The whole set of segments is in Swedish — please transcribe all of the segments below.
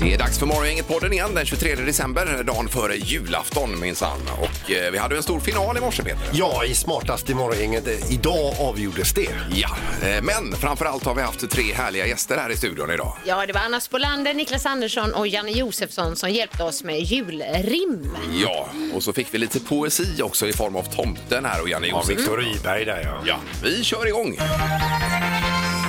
Det är dags för Morgongänget-podden igen den 23 december, dagen före julafton minsann. Och eh, vi hade ju en stor final i morse, Peter. Ja, i smartast i morgongänget. eh, Idag avgjordes det. Ja, eh, men framför allt har vi haft tre härliga gäster här i studion idag. Ja, det var Anna Spolander, Niklas Andersson och Janne Josefsson som hjälpte oss med julrim. Ja, och så fick vi lite poesi också i form av Tomten här och Janne Josef. Viktor Rydberg där ja. Ja, vi kör igång.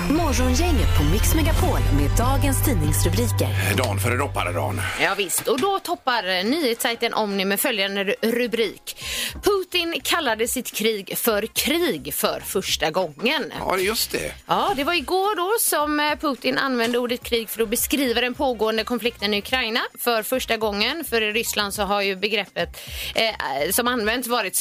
Morgongänget på Mix Megapol med dagens tidningsrubriker. Dan Eh, före dopparedagen. Ja, visst. Och då toppar eh, nyhetssajten Omni med följande ru- rubrik. Putin kallade sitt krig för krig för första gången. Ja, just det. Ja, det var igår då som eh, Putin använde ordet krig för att beskriva den pågående konflikten i Ukraina för första gången. För i Ryssland så har ju begreppet eh, som använts varit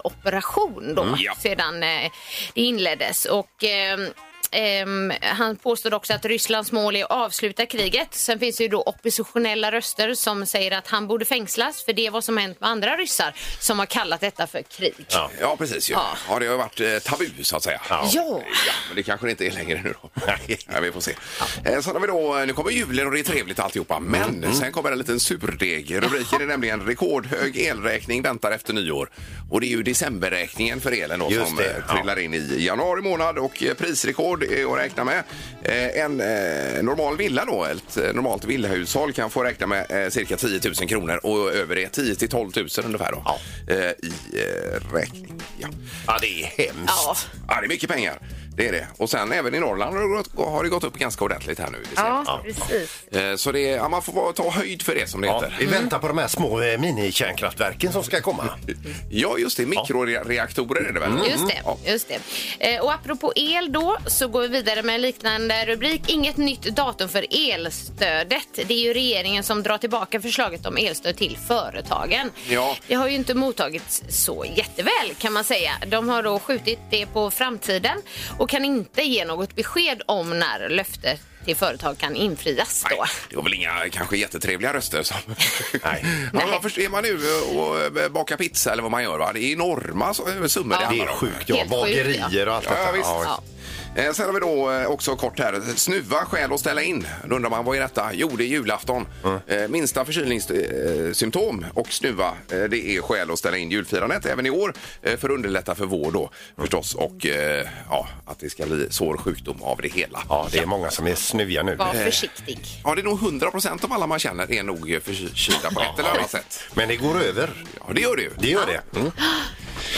specialoperation då Mm. Ja. sedan eh, det inleddes. Och, ehm, ehm, han påstår också att Rysslands mål är att avsluta kriget. Sen finns det ju då oppositionella röster som säger att han borde fängslas för det är vad som hänt med andra ryssar som har kallat detta för krig. Ja, precis ju. Ja. Ja. det har ju varit eh, tabu så att säga. Ja. Ja, men det kanske det inte är längre nu då. Nej, vi får se. Eh, Sen har vi då, eh, nu kommer julen och det är trevligt alltihopa. Men Mm. sen kommer en liten surdeg. Rubriken är nämligen rekordhög elräkning väntar efter nyår. Och det är ju decemberräkningen för elen då Just som det, eh, ja. trillar in i januari månad och eh, prisrekord är att räkna med. Eh, En eh, normal villa då, ett eh, normalt villahushåll kan få räkna med eh, cirka 10 000 kronor och över det 10 till 12 000 ungefär då. eh, I eh, räkning. Ja. Ja, det är hemskt. Ja. Ja, det är mycket pengar. Det är det. Och sen även i Norrland har det gått, har det gått upp ganska ordentligt här nu. i det Ja, precis. senaste. Eh, Så det är, ja, man får bara ta höjd för det som det Ja, heter. vi väntar på de här små eh, minikärnkraftverken som ska komma. Ja, just det. Mikroreaktorer är det väl? Just det. Ja. Just det. Eh, Och apropå el då så går vi vidare med en liknande rubrik. Inget nytt datum för elstödet. Det är ju regeringen som drar tillbaka förslaget om elstöd till företagen. Ja. Det har ju inte mottagits så jätteväl kan man säga. De har då skjutit det på framtiden och kan inte ge något besked om när löftet till företag kan infrias då. Nej, det var väl inga kanske jättetrevliga röster som... Nej. Ja, man förstår, är man nu och eh, bakar pizza eller vad man gör, va? det är enorma så- summor det Ja. Det handlar är om. sjukt ja. Helt sjukt, Bagerier och allt Ja, ja, detta. visst. Ja. Eh, Sen har vi då eh, också kort här, snuva, skäl att ställa in. Då undrar man vad är detta? Jo, det är julafton. Mm. Eh, Minsta förkylningssymptom och snuva, eh, det är skäl att ställa in julfirandet även i år eh, för att underlätta för vård då förstås och eh, ja, att det ska bli svår sjukdom av det hela. Ja, det är många som är snuviga nu. Var försiktig. Ja, det är nog 100 procent av alla man känner är nog förkylda på ett eller annat sätt. Men det går över. Ja, det gör det ju. Det gör det. Mm.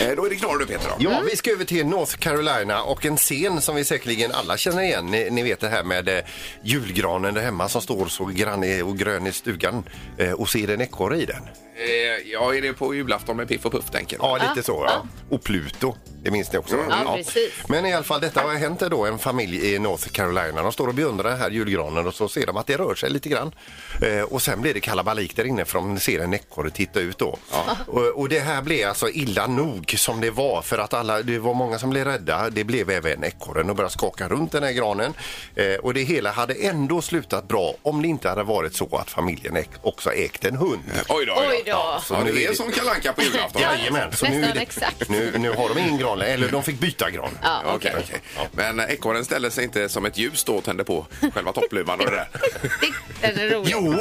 Eh, Då är det knorr du Peter. Då. Ja, Mm. vi ska över till North Carolina och en scen som vi säkerligen alla känner igen. Ni, ni vet det här med eh, julgranen där hemma som står så grann och grön i stugan eh, och ser en ekorre i den. Eh, Ja, är det på julafton med Piff och Puff tänker du? Ja, lite så. Ja. Och Pluto, det minns ni också. va? Mm. Ja, precis. Men i alla fall, detta har hänt då en familj i North Carolina. De står och beundrar den här julgranen och så ser de att det rör sig lite grann. Eh, och sen blir det kalabalik där inne för de ser en ekorre titta ut då. Och, och det här blev alltså illa nog som det var för att alla, det var många som blev rädda. Det blev även ekorren och började skaka runt den här granen. Eh, och det hela hade ändå slutat bra om det inte hade varit så att familjen äk, också ägt en hund. Oj då. Oj då. Så Ja, nu det är är det- som Kalle Anka på julafton. Jajamän, så nu, är Nästan det, exakt. nu, nu har de ingen gran längre, eller de fick byta gran. Ja, Ja, okej. Okej, okej. Men eh, ekorren ställer sig inte som ett ljus då och tänder på själva toppluvan och det där. Den är rolig. Jo!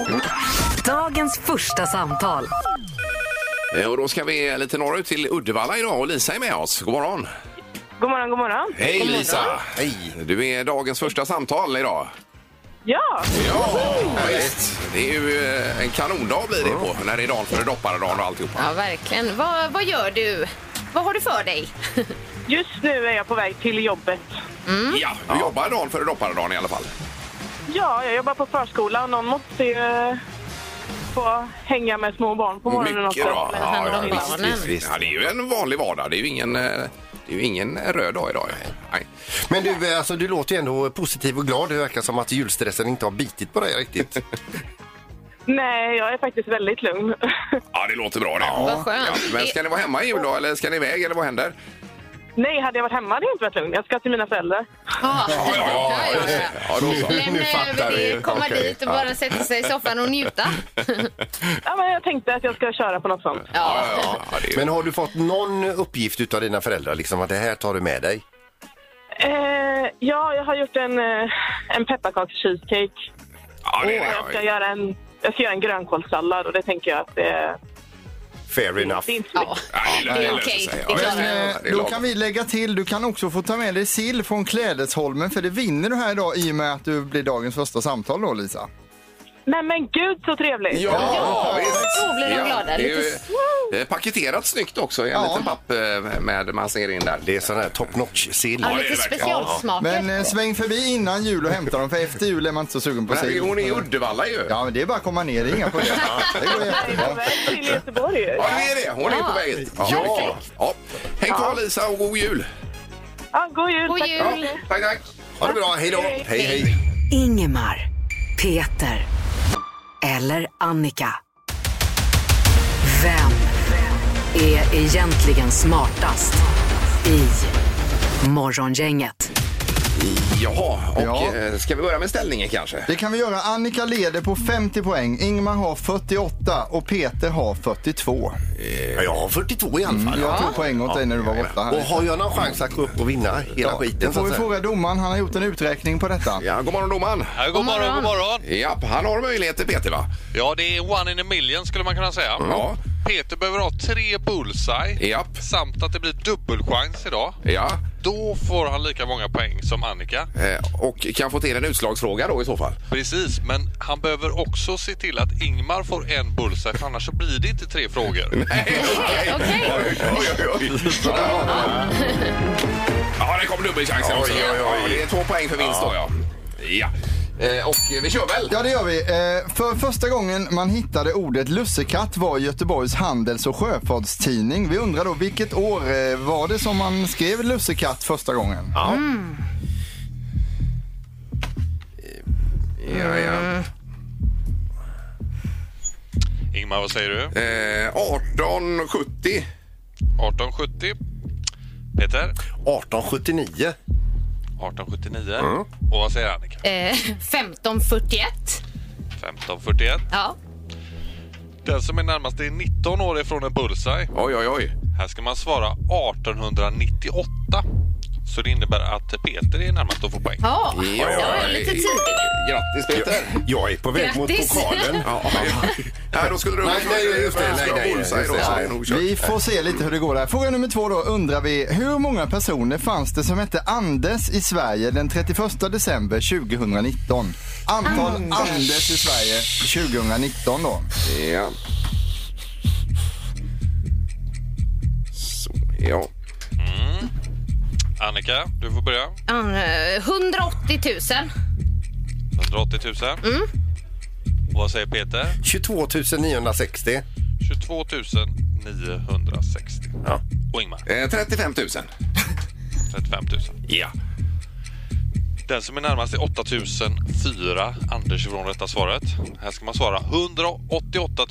Dagens första samtal. Eh, Och då ska vi lite norrut till Uddevalla idag och Lisa är med oss. God morgon! God morgon, god morgon. Hej Lisa! Hej! Du är dagens första samtal idag. Ja, Ja, visst. Det är ju eh, en kanondag blir det på när det är dagen före dopparedagen och alltihopa. Ja, verkligen. Vad, vad gör du? Vad har du för dig? just nu är jag på väg till jobbet. Mm. Ja, du jobbar dagen före dopparedagen i alla fall. Ja, jag jobbar på förskolan. Någon måste ju eh, få hänga med små barn på morgonen Mycket också. bra. Men- hand om visst, barnen. visst, visst. Ja, det är ju en vanlig vardag. Det är ju ingen, eh, det är ju ingen röd dag idag. Nej. Men du, eh, alltså, du låter ju ändå positiv och glad. Det verkar som att julstressen inte har bitit på dig riktigt. Nej, jag är faktiskt väldigt lugn. Ja, det låter bra det. Ja. Vad skönt. Men ska ni vara hemma i jul då, eller ska ni iväg eller vad händer? Nej, hade jag varit hemma hade jag inte varit lugn. Jag ska till mina föräldrar. Ja, Ja, ja, ja, just det. ja, då så. Nu Lämna fattar över vi. det, eh, komma Okej, dit och ja. bara sätta sig i soffan och njuta. Ja, men jag tänkte att jag ska köra på något sånt. Ja. Ja, ja, ja, det är- Men har du fått någon uppgift utav dina föräldrar, liksom att det här tar du med dig? Eh, ja, jag har gjort en, eh, en pepparkaks-cheesecake. ja, det är Jag ska det. göra en, jag ska göra en grönkålssallad och det tänker jag att det är... Fair enough. Det är inte så Ja. mycket. Ja, Det är löser okej, sig. det Ja, klarar just vi. det. Men Ja, eh, det är då lagom. kan vi lägga till, du kan också få ta med dig sill från Klädesholmen för det vinner du här idag i och med att du blir dagens första samtal då Lisa. Men men gud så trevligt! Ja, visst. då blir de Ja, glada. Det är ju Lite eh, paketerat snyggt också i en Ja. liten papp eh, med man ser in där. Det är sån här top notch sill. Ja, det är lite det verkligen. specialsmaker. Men eh, sväng förbi innan jul och hämta dem för efter jul är man inte så sugen på Men här, sill. hon är i Uddevalla ju. Ja, Ja men det är bara att komma ner, det är inga problem. Det går Jag är på jättebra. väg till Göteborg. ju. hon är det. Hon är på väg hit. Ja. ja. Häng kvar Lisa och god jul. Ja, god jul! God tack. jul. Ja, tack, tack. Ha det bra, hej då! Hej, hej! Ingemar, Peter eller Annika. Vem är egentligen smartast i Morgongänget? Jaha, och Ja. eh, ska vi börja med ställningen kanske? Det kan vi göra. Annika leder på 50 poäng, Ingmar har 48 och Peter har 42. Ja, jag har 42 i alla Mm, fall. Jag tog poäng åt dig när du var borta Och här. har jag någon chans att gå upp och vinna hela skiten Då så får att vi säga? fråga domaren, han har gjort en uträkning på detta. Ja, god morgon domaren. Ja, god morgon, god morgon. Ja, han har möjligheter Peter va? Ja, det är one in a million skulle man kunna säga. Ja. Peter behöver ha tre bullseye Japp. samt att det blir dubbelchans idag. Ja. Då får han lika många poäng som Annika. Eh, Och kan få till en utslagsfråga då i så fall. Precis, men han behöver också se till att Ingmar får en bullseye för annars så blir det inte tre frågor. Nej, okej. Okej. Oj, oj, oj. Ja, det kom dubbelchansen också. Oj, oj, oj. Det är två poäng för vinst då ja. Ja. Eh, Och vi kör väl? Ja, det gör vi. Eh, för första gången man hittade ordet lussekatt var i Göteborgs Handels och Sjöfartstidning. Vi undrar då, vilket år eh, var det som man skrev lussekatt första gången? Ja, Eh. ja. Ingmar, vad säger du? Eh, 1870. 1870. Peter? 1879. 1879. Mm. Och vad säger Annika? Eh, 1541. 1541. Ja. Den som är närmast är 19 år ifrån en bullseye. Oj, oj, oj. Här ska man svara 1898. Så det innebär att Peter är närmast att få poäng. Ja, det var ju lite tidigt. Grattis Peter. Jag är på väg mot Grattis. pokalen. Ja, nej, då skulle du... Nej, nej, just det. Nej, Skulle ha nej, bullseye just då, det. så det är nog kört. Vi får se lite hur det går där. Fråga nummer två då undrar vi, hur många personer fanns det som hette Anders i Sverige den 31 december 2019? Antal Ah. Anders, i Sverige 2019 då. Ja. Så, ja. Mm. Annika, du får börja. Eh, 180 000. 180 000. Och Vad säger Peter? 22 960. 22 960. Ja. Och Ingmar, Eh, 35 000. 35 000. Ja. Den som är närmast är 8 004. Anders ifrån rätta svaret. Här ska man svara 188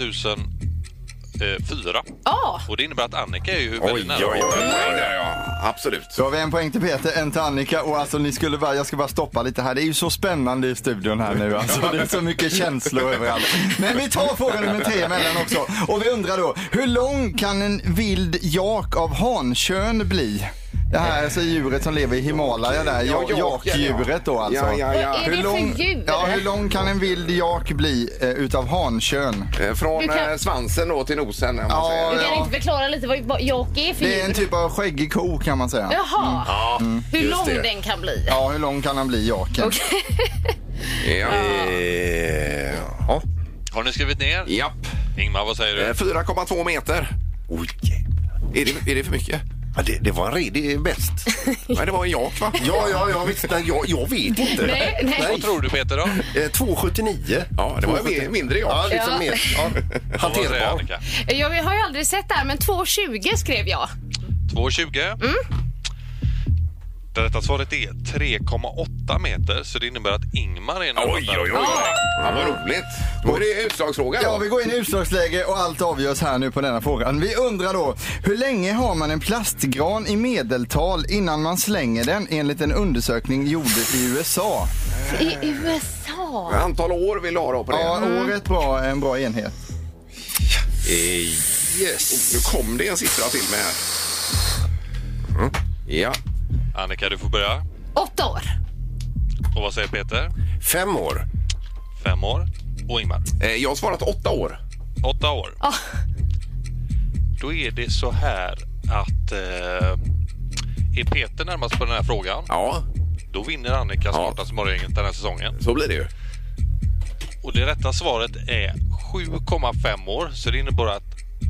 4. Ja, Och det innebär att Annika är ju Oj, väldigt oj, nära. oj. Ja, ja, ja. Absolut. Då har vi en poäng till Peter, en till Annika och alltså ni skulle bara, jag ska bara stoppa lite här. Det är ju så spännande i studion här nu alltså. Det är så mycket känslor överallt. Men vi tar fråga nummer tre emellan också. Och vi undrar då, hur lång kan en vild jak av hankön bli? Det här är alltså djuret som lever i Himalaya Ja, där, ja- jaken, ja. jakdjuret då alltså. Ja, ja, ja. Vad är det för djur? ja, hur lång kan en vild jak bli eh, utav hankön? Eh, Från Du kan- eh, svansen då till nosen. Om man Ja, säger. du kan ja. inte förklara lite vad, vad Jocke är för Det är en djur? typ av skäggig ko kan man säga. Mm. Jaha, hur just lång det. den kan bli. Ja, hur lång kan han bli, jaken? Ja. Eh, ja. Har ni skrivit ner? Japp. Ingmar, vad säger Eh, du? 4,2 meter. Oj, jävlar. Är det, är det för mycket? ja, det, det var en redig bäst. Nej, det var en jak va? Ja, ja, ja visst. Nej, jag, jag vet inte. Nej, nej. Vad tror du Peter då? Eh, 279. Ja, det var en mi- mindre jak. Ja, liksom Ja. mer. Ja. Och Vad säger Hanterbar. Annika? Jag har ju aldrig sett det här, men 220 skrev jag. 2,20. Det rätta svaret är 3,8 meter, så det innebär att Ingmar är närmast. Oj, oj, oj. Ja, vad roligt. Då är det utslagsfråga. Ja, då. vi går in i utslagsläge och allt avgörs här nu på denna frågan. Vi undrar då, hur länge har man en plastgran i medeltal innan man slänger den enligt en undersökning gjord i USA? I USA? Antal år vill du ha då på det? Ja, året bra, en bra enhet. Eh, Yes. Nu kom det en siffra till med här. Ja. Annika, du får börja. Åtta år. Och vad säger Peter? Fem år. Fem år. Och Ingmar? Eh, Jag har svarat åtta år. Åtta år. Ja. Då är det så här att eh, är Peter närmast på den här frågan, Ja, då vinner Annika smartast morgongänget den här säsongen. så blir det ju. Och det rätta svaret är 7,5 år, så det innebär att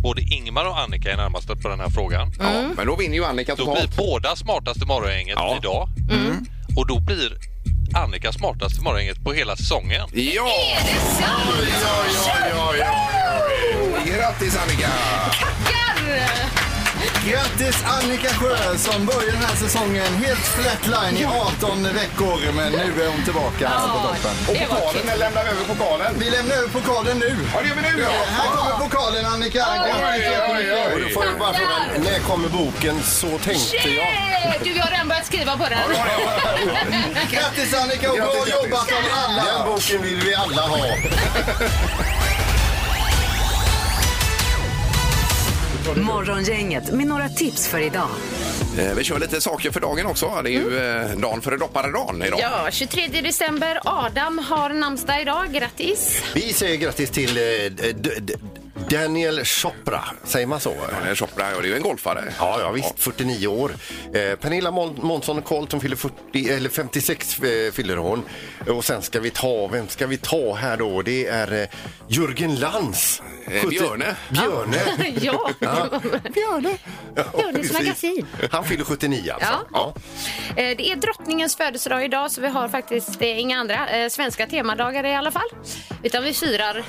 både Ingmar och Annika är närmast på den här frågan. Ja, men då vinner ju Annika Då blir totalt. båda smartaste morgongänget Ja. Mm. idag. Och då blir Annika smartaste morgongänget på hela säsongen. Ja! Oj, oj, oj, oj, oj. Grattis Annika! Grattis Annika Sjö som börjar den här säsongen helt flatline i 18 veckor, men nu är hon tillbaka här på toppen. Och Det var pokalen, kul. när lämnar vi över pokalen? Vi lämnar över pokalen nu. Ja, det gör vi nu då! Här kommer pokalen Annika. Oj, oj, oj. Och då får jag bara fråga, när kommer boken Så tänkte jag? Shit! Du, jag har redan börjat skriva på den. Grattis Annika och bra Grattis, jobbat av alla. Den boken vill vi alla ha. Morgongänget med några tips för idag. Eh, Vi kör lite saker för dagen också. Det är ju eh, dagen före dopparedagen idag. Mm. Ja, 23 december. Adam har namnsdag idag. Grattis! Vi säger grattis till eh, d- d- Daniel Chopra. Säger man så? Eh, Chopra, ja, det är ju en golfare. Ja, ja visst. 49 år. Eh, Pernilla Mon- Månsson Colt, hon fyller 40, eller 56 eh, fyller hon. Och sen ska vi ta, vem ska vi ta här då? Det är eh, Jörgen Lantz. Eh, 70 Björne. Björne. ja. Björne. Björnes magasin. Han fyller 79 alltså. Ja. Eh, Det är drottningens födelsedag idag så vi har faktiskt eh, inga andra eh, svenska temadagar i alla fall. Utan vi firar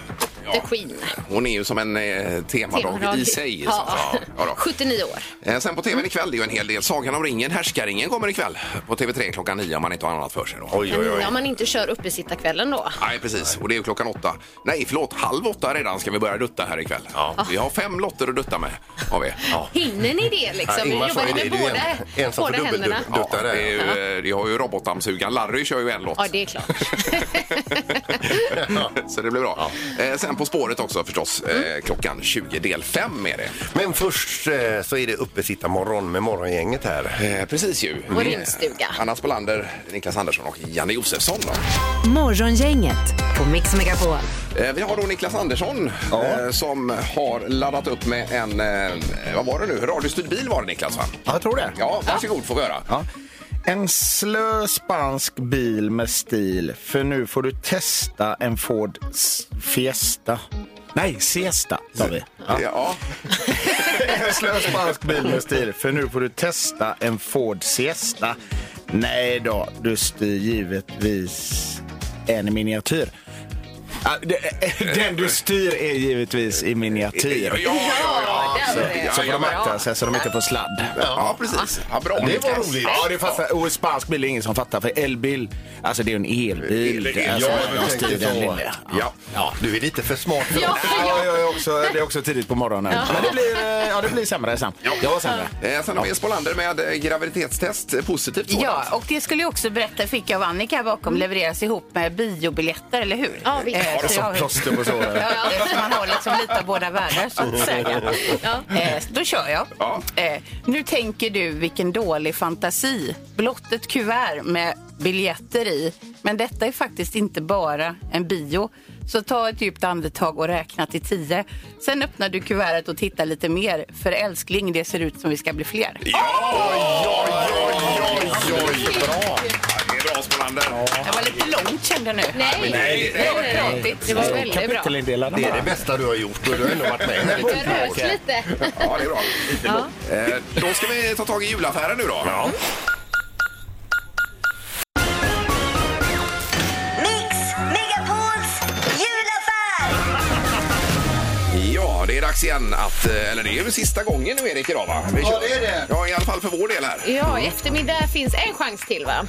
The Queen. Hon är ju som en eh, temadag i sig. Så, att Ja. säga. ja, då. 79 år. Eh, Sen på Mm. tvn ikväll, det är ju en hel del. Sagan om ringen, Härskaringen kommer ikväll på TV3 klockan nio om man inte har annat för sig. Då. Oj, oj, oj. Om man inte kör uppesittarkvällen då. Nej, precis. Och det är ju klockan åtta. Nej, förlåt. Halv åtta redan ska vi börja dutta här ikväll. Vi har fem lotter att dutta med. Har vi. Ja. Hinner ni det liksom? Ja, Vi Ingmar sa jobbar ju ju det, med det är båda, en- en som får båda händerna. dubbeldutta. Dutta där, det, är ju, eh, det har ju robotdammsugaren Larry kör ju en låt. Ja, det är klart. Så det blir bra. Eh, sen På spåret också förstås. Eh, klockan 20, del 5 är det. Mm. Men först eh, så är det uppesitta morgon med morgongänget här. Eh, precis ju. Och rimstuga. Anna Spolander, Niklas Andersson och Janne Josefsson. Då. Morgongänget på Mix Megapol. Eh, Vi har då Niklas Andersson eh, som har laddat upp med en, eh, vad var det nu, radiostyrd bil var det Niklas va? Ja, jag tror det. Ja, varsågod får vi höra. Ja. En slö spansk bil med stil, för nu får du testa en Ford S- Fiesta. Nej, Siesta tar vi. Ja. Ja. En slö spansk bil med stil, för nu får du testa en Ford Siesta. Nej då, du styr givetvis en miniatyr. Ah, det- Den du styr är givetvis i miniatyr. Ja, ja, ja. Ja, där var det. Så får de akta sig så de inte får sladd. Ja, precis. Ja, bra. Det var roligt. Ja, det fattar. Och spansk bil är ingen som fattar. För elbil, alltså det är ju en elbil. El- el- alltså, ja, de styr den lilla. Ja. Ja, du är lite för smart för Ja, oss. Ja, jag är också, det är också tidigt på morgonen. Men det blir, eh, ja, det blir sämre sen. Jag var sämre. Eh, Sen har vi Spolander med eh, graviditetstest, eh, positivt Ja, sådant. och det skulle jag också berätta, fick jag av Annika här bakom, levereras ihop med biobiljetter, eller hur? Ja, visst. Eh, Ja, det är så som jag- plåster på såren. Ja, ja, så man har liksom lite av båda världar, så att säga. Eh, då kör jag. Ja. Eh, nu tänker du vilken dålig fantasi. Blott ett kuvert med biljetter i. Men detta är faktiskt inte bara en bio. Så ta ett djupt andetag och räkna till tio. Sen öppnar du kuvertet och tittar lite mer. För älskling, det ser ut som vi ska bli fler. Det är bra Spolander. Det var lite långt kände jag nu. Nej, nej, det var pratigt. Det var väldigt bra. Kapitelindelad. Det är det bästa du har gjort och du har ändå varit med här i Jag rös lite. Ja, det är bra. Eh, Då ska vi ta tag i julaffären nu då. Mm. Ja. Mix Megapols julaffär! Ja, det är dags igen att... eh, Eller det är väl sista gången nu Erik idag va? Vi Ja, kör. det är det. Ja, i alla fall för vår del här. Mm. Ja, i eftermiddag finns en chans till va?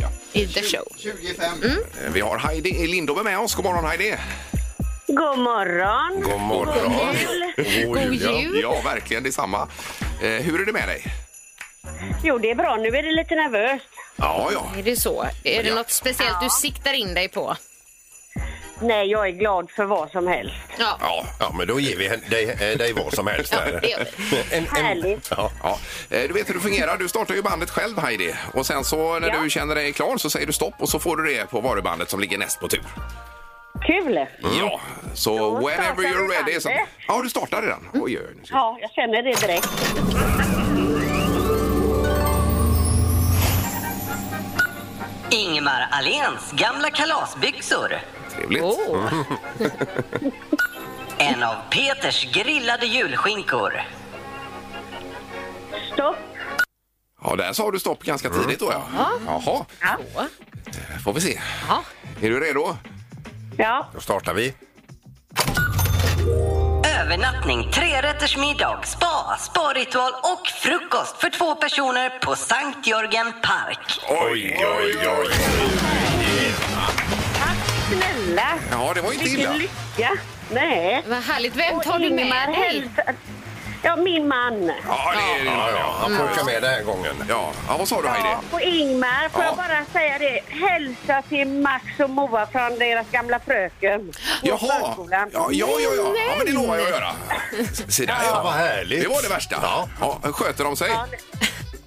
Ja. I the show. Mm. 25. Eh, Vi har Heidi i Lindome med oss. God morgon Heidi! God morgon. God morgon! God jul. Ja, verkligen detsamma. Eh, hur är det med dig? Jo, det är bra. Nu är det lite nervöst. Ja, ja. Är det så? Är det Ja. något speciellt du siktar in dig på? Nej, jag är glad för vad som helst. Ja. ja. Ja, men då ger vi hen- dig, eh, dig vad som helst. Där. det gör En, en, Härligt. ja. Ja, eh, du vet hur det fungerar. Du startar ju bandet själv, Heidi. Och sen så när Ja. du känner dig klar så säger du stopp och så får du det på varubandet som ligger näst på tur. Kul! Ja, så Mm. Då whenever startar you're vi ready. Så... bandet. Mm. Ja, du startar redan. Oj, oj, oj. nu ska vi- Ja, jag känner det direkt. Ingemar Alléns gamla kalasbyxor. Trevligt. Oh. En av Peters grillade julskinkor. Stopp! Ja, där sa du stopp ganska Mm. tidigt då, ja. Jaha, Så. får vi se. Ja. Är du redo? Ja, Då startar vi. Övernattning, trerättersmiddag, spa, sparritual och frukost för två personer på Sankt Jörgen Park. Oj, oj, oj. snälla! Ja, det var inte Vilken illa. lycka! Nej. Vad härligt. Vem tar du Ingemar med dig? hälsar- Ja, min man. Ja, det är Ja, ja, han får åka med den här gången. Ja, ja vad sa du, Ja, Heidi? och Ingmar, får Ja. jag bara säga det? Hälsa till Max och Moa från deras gamla fröken på Jaha, ja, förskolan. Mm. ja, ja, ja. ja men det lovar jag att göra. Se där, Ja, vad ja. härligt. Det var det värsta. Ja. Ja, sköter de sig? Ja,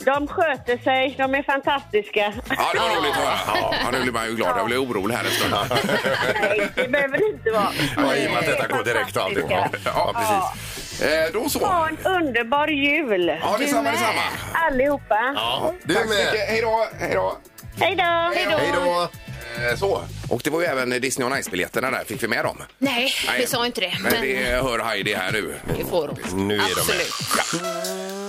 De sköter sig, de är fantastiska. Ja, det var roligt att höra. Ja, ja, nu blir man ju glad. Jag blev orolig här en stund. Nej, det behöver det inte vara. Ja, I och med att detta går direkt och allting. Ja, ja, precis. Eh, Då Ha så. en underbar jul, Ja, detsamma, detsamma. allihopa. Ja, du Tack så mycket. med. Hej då. Hej då. Hej då! Hej då. Eh, Så. Och det var ju även Disney on Ice-biljetterna där. Fick vi med dem? Nej, vi sa inte det. Men det Men hör Heidi här nu. det får hon. Nu är de med. Absolut.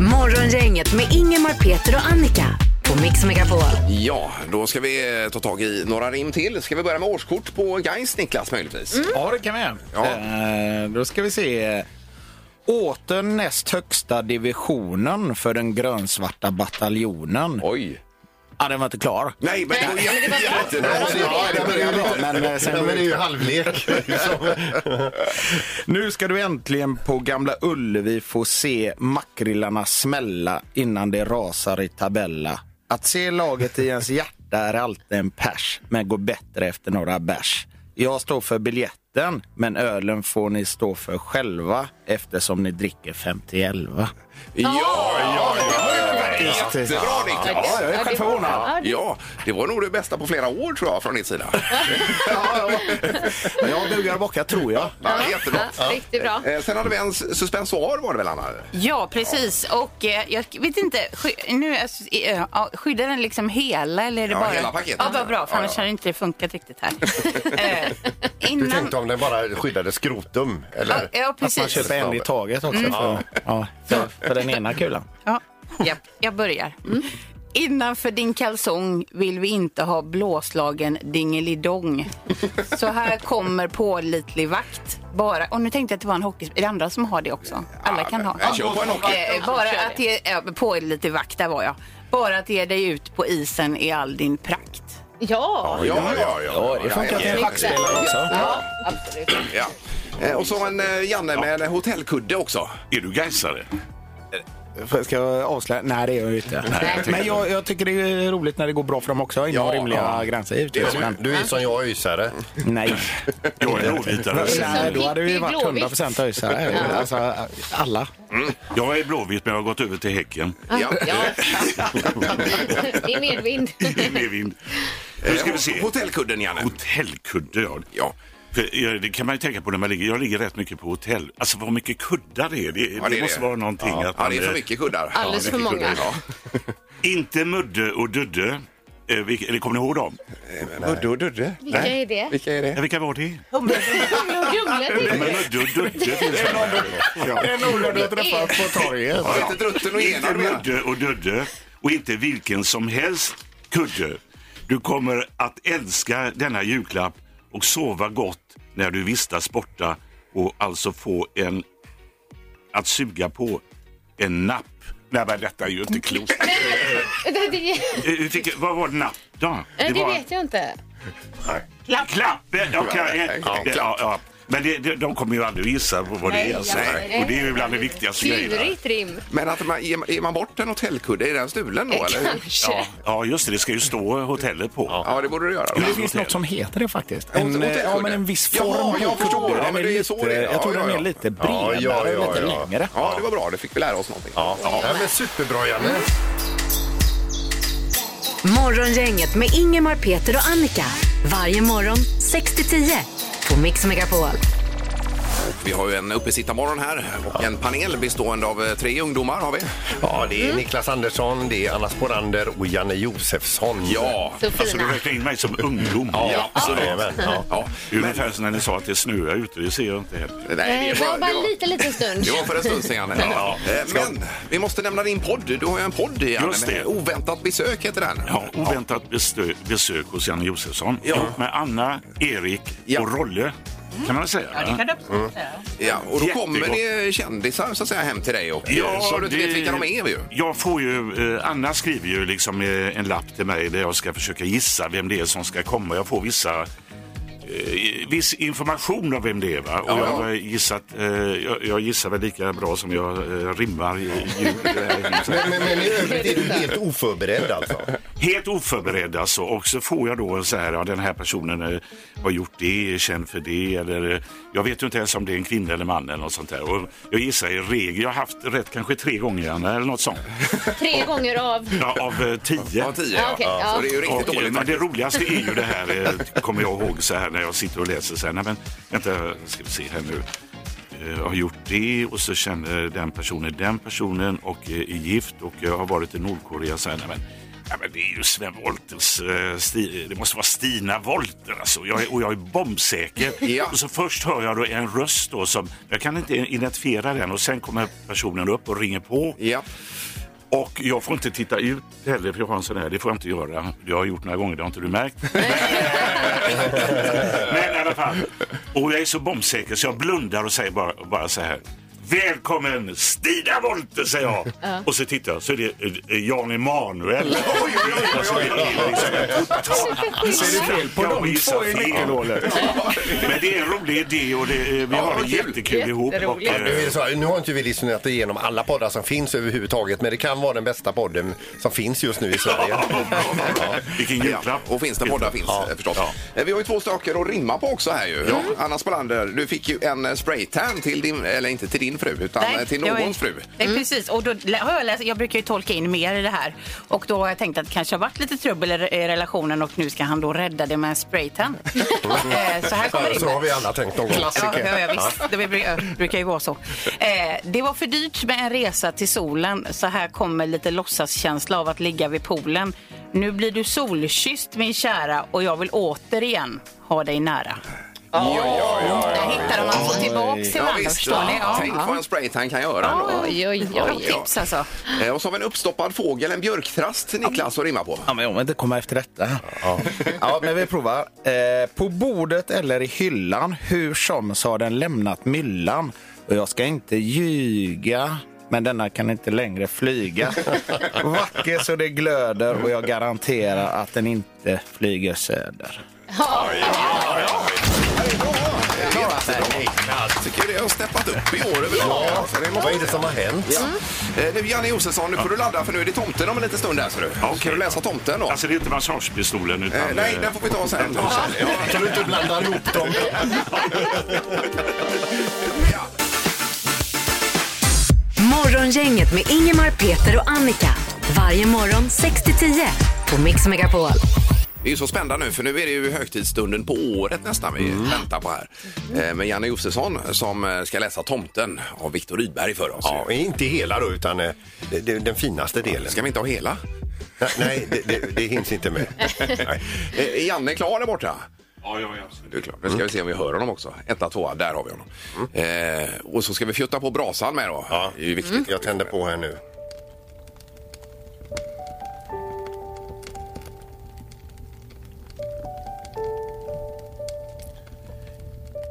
Morgongänget med Ingemar, Peter och Annika på Mix Megapol. Ja, då ska vi eh, ta tag i några rim till. Ska vi börja med årskort på Gais, Niklas, möjligtvis? Mm. Ja, det kan vi göra. Ja. Eh, Då ska vi se. Åter näst högsta divisionen för den grönsvarta bataljonen. Oj. Ja, den var inte klar. Nej, men det var jättebra. Ja, det börjar bra, men eh, sen... sen- Men det är ju halvlek. Nu ska du äntligen på Gamla Ullevi få se makrillarna smälla innan det rasar i tabella. Att se laget i ens hjärta är alltid en pers, men går bättre efter några bärs. Jag står för biljetten, men ölen får ni stå för själva eftersom ni dricker 51. Ja, Ah, ja, ja. faktiskt. Jättebra, Niklas. Ja, jag är själv förvånad. Ja, det- Ja, det var nog det bästa på flera år tror jag från din sida. Ja, ja. Jag bugar och bockar, tror jag. Ja, jättebra. Ja, Riktigt bra. Eh, Sen hade vi en s- suspensoar var det väl Anna? Ja, precis. Och eh, jag vet inte, sky- nu, alltså, i- eh, ja, skyddar den liksom hela eller är det Ja, bara... hela paketet. Ja, vad bra, för Ja, annars ja. hade inte det funkat riktigt här. Eh, Du innan... tänkte om den bara skyddade skrotum, eller? Ja, ja, Att man precis. köper en i taget också Mm. för, ja, för, för den ena kulan. Ja, japp, jag börjar. Innanför din kalsong vill vi inte ha blåslagen dingelidong. Så här kommer pålitlig vakt. Bara, och nu tänkte jag att det var en hockey... Är det andra som har det också? Alla kan ha. Jag kör på en hockey. Eh, bara att ge, eh, pålitlig vakt, där var jag. Bara att ge dig ut på isen i all din prakt. Ja, Ja, ja, Ja, det funkar till en schackspelare också. ja. Eh, Och så en eh, Janne med en hotellkudde också. Är du gaisare? F- Ska jag avslöja? Nej, det gör jag inte. Men jag, jag tycker det är roligt när det går bra för dem också, inom Ja, rimliga ja. gränser givetvis. Du, Men du är som jag, ysare. nej. Jag är blåvitare. Nej, då hade vi varit Pippi Blåvitt. 100 procent öisare. Alltså, alla. Mm. Jag är blåvit men jag har gått över till Häcken. Eh. Ja. ja. det är medvind. Det är vind. Nu ska vi se. Eh, Hotellkudden Janne. Hotellkudde, ja. Ja. För, ja, det kan man ju tänka på när man ligger. Jag ligger rätt mycket på hotell. Alltså vad mycket kuddar det är. Det, det är det måste det. vara någonting. Att ja, man, det är för eh, mycket kuddar. Alldeles för många. Ja. Inte Mudde och Dudde. Eh, vilka, eller kommer ni ihåg dem? Eh, Mudde och Dudde. Vilka är det? Vilka är Ja, det? vilka var det? Men Humle Mudde och Dudde finns här. En Ola du har träffat på torget. Var det inte Drutten och Inte Enad med? Mudde och Dudde och inte vilken som helst kudde. Du kommer att älska denna julklapp och sova gott när du vistas borta och alltså få en att suga på en napp. Nej men detta är ju inte klokt. Det, det, Eh, eh, fick- Vad var napp då? Eh, det, var- vet jag inte. Klapp! Klappen! Ja, kan- eh, Ja, det- ja, ja. Men det, det, de kommer ju aldrig att gissa på vad det Nej, är. Alltså. nej, nej. Och det är ju bland det viktigaste grejerna. Klurigt rim. Men att man, ger, man- ger man bort en hotellkudde, är den stulen då eller? Eh, hur? Kanske. Ja, ja, just det. Det ska ju stå hotellet på. Ja, det borde du göra. Då. Jo, det finns något som heter det faktiskt. Åt- En, eh, återskydde. ja, men en viss form. Jaha, jag på förstår. kudden. Ja, men Den är det är lite- så det är. Ja, Jag tror ja, den ja. är lite Ja, bredare, ja, ja, lite ja. längre. Ja, det var bra. Det fick vi lära oss någonting. Ja, ja. men superbra Janne. Morgongänget med Ingemar, Peter och Annika. Varje morgon 6 till 10 på Mix Megapol. Vi har ju en uppesittarmorgon här och en panel bestående av eh, tre ungdomar har vi. Ja, det är Mm. Niklas Andersson, det är Anna Sporander och Janne Josefsson. Ja. Så Alltså du fina. räknar in mig som ungdom. Ja, jajamän, ja. ja. Det är ungefär som när ni sa att det snöar ute. Det ser jag inte heller. Nej, Nej, det var bara en det liten, liten stund. det var för en stund sedan, Janne. Ja. Eh, Men vi måste nämna din podd. Du har ju en podd, Janne. Just det. med Oväntat besök heter den. Ja, oväntat bestö- besök hos Janne Josefsson. Ja. Ihop med Anna, Erik Ja. Mm. och Rolle. Kan man väl säga? Ja, det kan du absolut säga. Ja, och då Jättegott. kommer det kändisar så att säga hem till dig och Ja, så du inte vet det- vilka de är ju. Jag får ju, eh, Anna skriver ju liksom eh, en lapp till mig där jag ska försöka gissa vem det är som ska komma. Jag får vissa eh, viss information om vem det är. Va? Och Ja, jag, ja. har gissat, eh, jag, jag gissar väl lika bra som jag eh, rimmar i, i ljud. i det här huset. Men, men, men i övrigt är du helt oförberedd alltså? Helt oförberedd alltså och så får jag då så här, ja, den här personen eh, har gjort det, är känd för det eller eh, jag vet ju inte ens om det är en kvinna eller man eller något sånt där. Och jag gissar i regel, jag har haft rätt kanske tre gånger Anna, eller något sånt. Tre gånger av. Ja, av eh, tio. Ja, tio Ja, ja. okej, ja. Så det är ju riktigt Och, eh, dåligt. men det faktiskt. roligaste är ju det här, eh, kommer jag ihåg så här när jag sitter och läser så här, nej men vänta, ska vi se här nu. Eh, Jag har gjort det och så känner den personen den personen och eh, är gift och jag har varit i Nordkorea så här, nej men, nej men det är ju Sven Wolters, eh, Sti, det måste vara Stina Wolter alltså. Jag är, och jag är bombsäker. Ja. Och så först hör jag då en röst då som, jag kan inte identifiera den och sen kommer personen upp och ringer på. Ja. Och jag får inte titta ut heller, för jag har en sån här, det får jag inte göra. Jag har gjort några gånger, det har inte du märkt. Men i alla fall. Och jag är så bombsäker så jag blundar och säger bara, bara så här. Välkommen Stina Wollter säger jag. Och så tittar jag så är det eh, Jan Emanuel. Oj, oj, oj, oj, oj. Det är liksom en total- Så är det fel på Jag de gissar två i fel. nyckelhålet. Men det är en rolig idé och det, eh, vi har vad det kul. jättekul ihop. Och, Jätteroligt. eh, Nu, är det så, här, nu har inte vi lyssnat igenom alla poddar som finns överhuvudtaget men det kan vara den bästa podden som finns just nu i Sverige. ja, vilken Ja, julklapp. och finns det poddar finns Ja. eh, förstås. Ja. Eh, Vi har ju två saker att rimma på också här ju. Anna Spolander, du fick ju en eh, spraytan till din, eller inte till din fru, utan eh, till jag är- någons fru. Nej, precis. Och då lä- har jag, läst, jag brukar ju tolka in mer i det här. Och då har jag tänkt att det kanske har varit lite trubbel i re- i relationen och nu ska han då rädda det med en spraytan. Eh, så här kommer Så har det vi alla tänkt någon gång. Ja, ja, ja, visst. Det bru- brukar ju vara så. Eh, det var för dyrt med en resa till solen. Så här kommer lite låtsaskänsla av att ligga vid poolen. Nu blir du solkysst min kära och jag vill återigen ha dig nära. Där hittar de alltså tillbaks till varandra, förstår ni? Ja, Tänk vad en spraytan kan göra. ändå. Oj, oj, Bra oj. tips alltså. Eh, Och så har vi en uppstoppad fågel, en björktrast, Niklas, att rimma på. Ja, men om inte komma efter detta. Ja. men vi provar. Eh, på bordet eller i hyllan, hur som så har den lämnat myllan. Och jag ska inte ljuga, men denna kan inte längre flyga. Vacker så det glöder och jag garanterar att den inte flyger söder. Jag tycker det har steppat upp i år överlag. Alltså, det måste- Vad är det som har hänt? Eh, Nu Janne Josefsson, nu får du ladda för nu är det tomten om en liten stund här ser du. okej. Ska du läsa tomten då? Alltså det är inte massagepistolen utan... Eh, nej, eh, den får vi ta sen. Kan du inte blanda ihop dem? Ja. Morgongänget med Ingemar, Peter och Annika. Varje morgon 6 till 10 på Mix Megapol. Det är ju så spännande nu för nu är det ju högtidsstunden på året nästan vi Mm. väntar på här. Eh, Med Janne Josefsson som eh, ska läsa Tomten av Viktor Rydberg för oss. Ja, inte hela då, utan eh, det- det- den finaste delen. Ska vi inte ha hela? Nej, Nej, det, det, det hinns inte med. Nej. Eh, Är Janne klar där borta? Ja, jag är absolut. Du är klar. Nu Mm. ska vi se om vi hör honom också. Etta, tvåa, där har vi honom. Eh, och så ska vi fjutta på brasan med då. Ja. Mm. Det är ju viktigt. Jag tänder på här nu.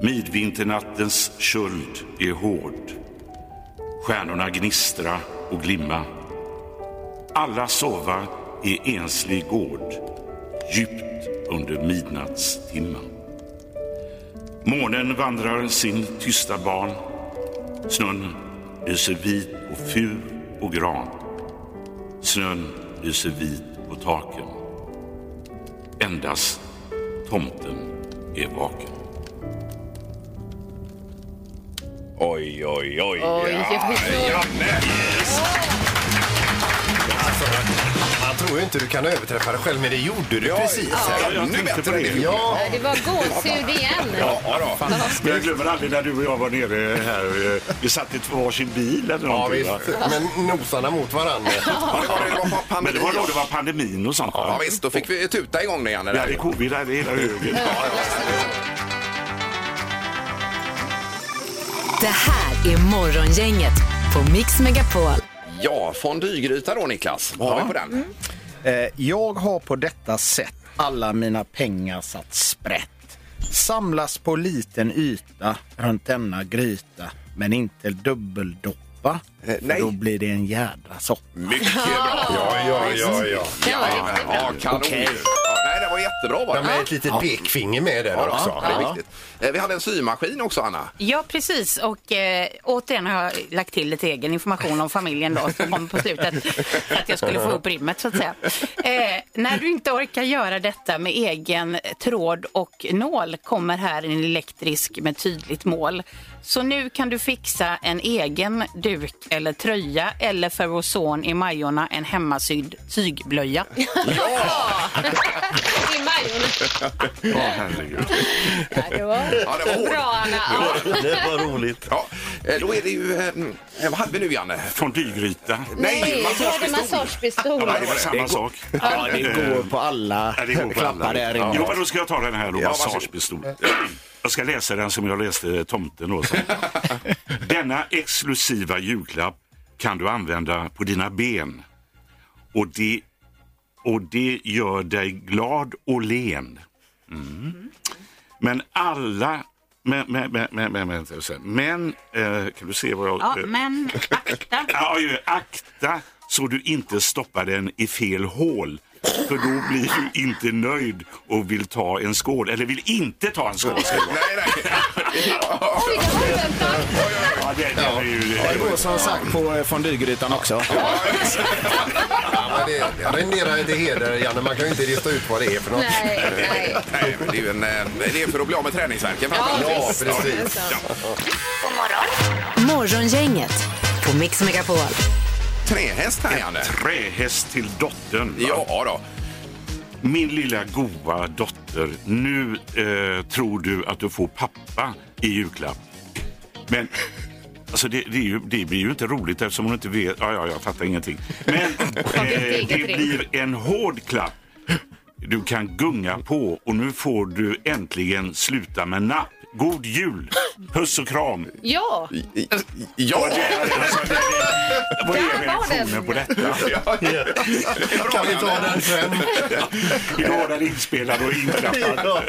Midvinternattens köld är hård. Stjärnorna gnistra och glimma. Alla sova i enslig gård, djupt under midnattstimman. Månen vandrar sin tysta ban. Snön lyser vit på fur och gran. Snön lyser vit på taken. Endast tomten är vaken. Oj, oj, oj. Man tror ju inte du kan överträffa dig själv, men det gjorde du Ja, precis. ja, jag Ännu tänkte bättre på det. än Ja. Det var gåshud igen. Fan. Men jag glömmer aldrig när du och jag var nere här. eh, Vi satt i två varsin bil eller Ja, någonting. visst. va? Men nosarna mot varandra. Men det var då det var pandemin och sånt. Ja, visst, då fick vi tuta igång det igen. Vi hade covid här i hela högen. Det här är Morgongänget på Mix Megapol. Ja, fondygryta då Niklas. Vad har vi på den? Eh, Jag har på detta sätt alla mina pengar satt sprätt. Samlas på liten yta runt denna gryta, men inte dubbeldoppa. för då blir det en jädra soppa. Eh, Mycket bra. Ja, ja, ja. ja. ja, ja kanon. Okej. Ja, nej, det var jättebra. Var Ja, med ett litet pekfinger med där också. Det är viktigt. Eh, Vi hade en symaskin också, Anna. Ja, precis. Och eh, återigen har jag lagt till lite egen information om familjen då, som kom på slutet för att jag skulle få ihop rimmet så att säga. Eh, när du inte orkar göra detta med egen tråd och nål kommer här en elektrisk med tydligt mål. Så nu kan du fixa en egen duk eller tröja eller för vår son i Majorna en hemmasydd tygblöja. I Majorna. Ja, herregud. Det var, Ja, det var hårt. bra, Anna. Ja. Det var roligt. Ja, eh, då är det ju... eh, mm, eh, Vad hade vi nu, Janne? Fondygryta. Nej, du hade massagepistol. massagepistol. Ja, det var samma sak. Ja, det går på alla Eh, Ja, det går på alla. klappar där inne. Jo, men då ska jag ta den här då, Ja, varsågod. massagepistol. Jag ska läsa den som jag läste Tomten då. så. Denna exklusiva julklapp kan du använda på dina ben. Och det, och det gör dig glad och len. Mm. Men alla... Men, men, men, men, men, men, men eh, kan du se vad jag... Ja, eh, men akta. Ja, ju, akta så du inte stoppar den i fel hål. För då blir du inte nöjd och vill ta en skål. Eller vill inte ta en skål. ska jag säga. Nej, nej. Oj, det var oväntat. Ja, det, det är ju, Det går som sagt på eh, fondygrytan också. Ja, men det renderar inte heder, Janne. Man kan ju inte lista ut vad det är för något. Nej, nej. nej men det, är ju en, eh, det är för att bli av med träningsvärken. framför allt. Ja, precis. Morgongänget på Mix Megapol. Trähäst här, Janne. trähäst till dottern. va? Ja, då. Min lilla goa dotter, nu eh, tror du att du får pappa i julklapp. Men alltså det, det, är ju, det blir ju inte roligt eftersom hon inte vet. Ja, ja, jag fattar ingenting. Men eh, eget det rim. blir en hård klapp du kan gunga på och nu får du äntligen sluta med napp. God jul! Puss och kram! Ja, Ja, Alltså, det, det, vad Där är var den. reaktionen på detta? Kan vi ta den sen? Idag är den inspelad och inklappad.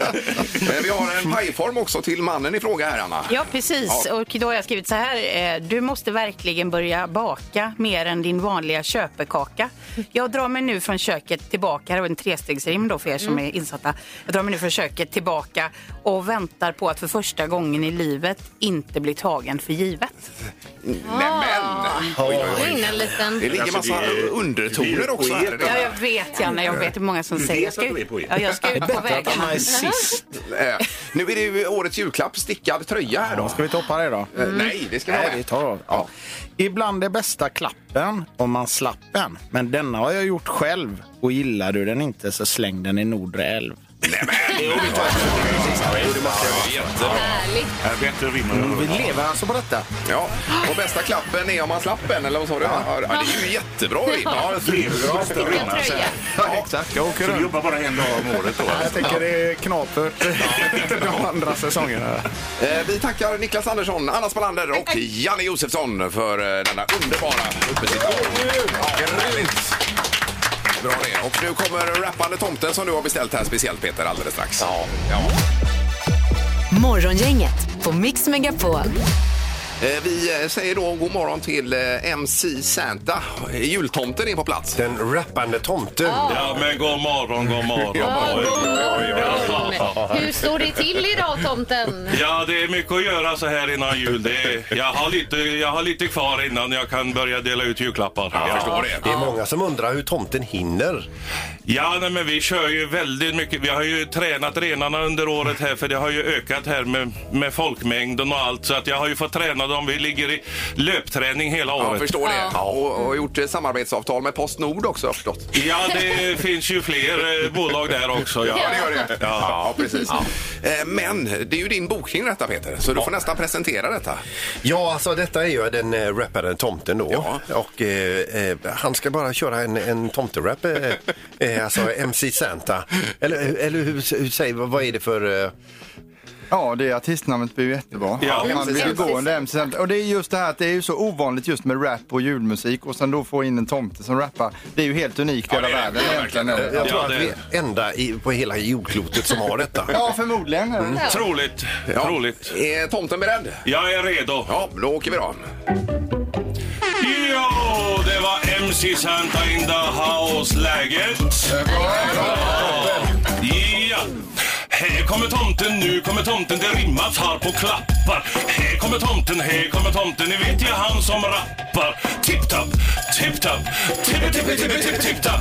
men vi har en pajform också till mannen i fråga här, Anna. Ja, precis. Och då har jag skrivit så här. eh, Du måste verkligen börja baka mer än din vanliga köpekaka. Jag drar mig nu från köket tillbaka. Det var en trestegsrim då för er Mm. som är insatta. Jag drar mig nu från köket tillbaka och väntar på att för första gången i livet inte bli tagen för givet. Nämen! gå in en liten. Det ligger Alltså, det massa är- det undertoner är också här. i poetiskt. den Ja, här. jag vet, Janne. Jag vet hur många som säger. Jag ska, att du är på er. ja, jag ska ut på Bättre att vägarna. man är sist. Eh, Nu är det ju årets julklapp, stickad tröja här då. Ja, ska vi toppa det då? Eh, Nej, det ska vi ha Nej, med. vi tar av. Ja. Ibland är bästa klappen om man slapp den. Men denna har jag gjort själv och gillar du den inte så släng den i Nordre älv. Härligt. Här Bättre rim än jag Vi hört. lever alltså på detta. Ja, och bästa klappen är om man slapp en eller vad sa du? Ja, det är ju jättebra rim. Ja, Lever måste rimma. Så Tröja. exakt. Jag åker du runt. jobbar bara en dag om året då? Jag tänker det är knapert de andra säsongerna. eh, Vi tackar Niklas Andersson, Anna Spalander och Janne Josefsson för eh, denna underbara uppesittare. Bra det. Och nu kommer rappande tomten som du har beställt här speciellt Peter alldeles strax. Ja. Morgongänget på Mix Megapol. Eh, Vi eh, säger då god morgon till eh, MC Santa. Eh, Jultomten är på plats. Den rappande tomten. Ja, men god morgon, god morgon. Oj, oj, oj. Hur står det till idag tomten? Ja, det är mycket att göra så här innan jul. Det är, jag, har lite, jag har lite kvar innan jag kan börja dela ut julklappar. Jag Ja, Det är många som undrar hur tomten hinner. Ja, nej, men vi kör ju väldigt mycket. Vi har ju tränat renarna under året här för det har ju ökat här med, med folkmängden och allt. Så att jag har ju fått träna dem. Vi ligger i löpträning hela året. Jag förstår det. Och, och gjort eh, samarbetsavtal med Postnord också har jag förstått. Ja, det finns ju fler eh, bolag där också. Ja, det gör det. Ja, precis. Eh, Men det är ju din bokning detta Peter, så du får nästan presentera detta. Ja, alltså detta är ju den äh, rapparen Tomten då. Och eh, eh, han ska bara köra en, en tomterap, eh, eh, alltså MC Santa. Eller, eller hur, hur säger vad- vad är det för... Eh, Ja, det artistnamnet blir ju jättebra. Ja. Man vill ju gå under MC Santa. Och det är just det här att det är ju så ovanligt just med rap och julmusik och sen då få in en tomte som rappar. Det är ju helt unikt i hela världen egentligen. Eh, Jag tror Ja, att det- vi är enda i, på hela jordklotet som har detta. Ja, förmodligen. Mm. Ja. Troligt. Troligt. Är tomten beredd? Jag är redo. Ja, då åker vi då. Jo, det var MC Santa in the house-läget. Ja. Här kommer tomten, nu kommer tomten, det rimmar tar på klappar. Här kommer tomten, här kommer tomten, ni vet jag han som rappar. Tipp-tapp, tipp-tapp, tipp-tipp-tipp-tipp-tipp-tapp.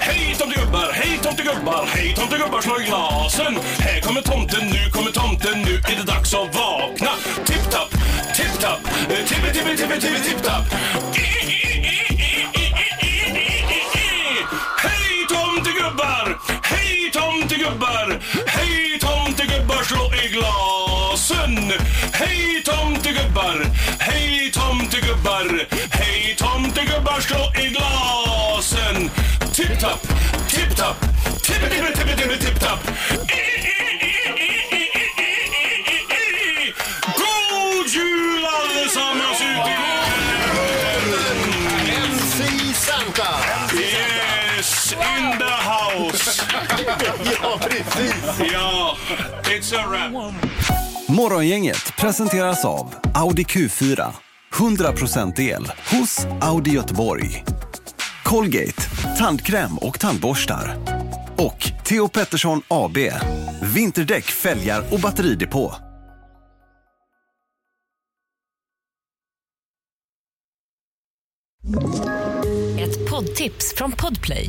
Hej tomtegubbar, hej tomtegubbar, hej tomtegubbar slå i glasen. Här kommer tomten, nu kommer tomten, nu är det dags att vakna. Tipp-tapp, tipp-tapp, Eh, tippe-tippe-tippe-tippe-tipp-tapp. Hej tomtegubbar, hej tomtegubbar, hej tomtegubbar slå i glasen. Hej tomtegubbar, hej tomtegubbar, hej tomtegubbar slå i glasen. Tipp-tapp, tipp-tapp, tippe-tippe-tippe-tippe-tipp-tapp. God jul allesammans ute i världen! MC Santa! Yes, in the house! ja, precis! Ja, it's a wrap. Morgongänget presenteras av Audi Q4. 100% el hos Audi Göteborg. Colgate, tandkräm och tandborstar. Och Theo Pettersson AB, vinterdäck, fälgar och batteridepå. Ett poddtips från Podplay.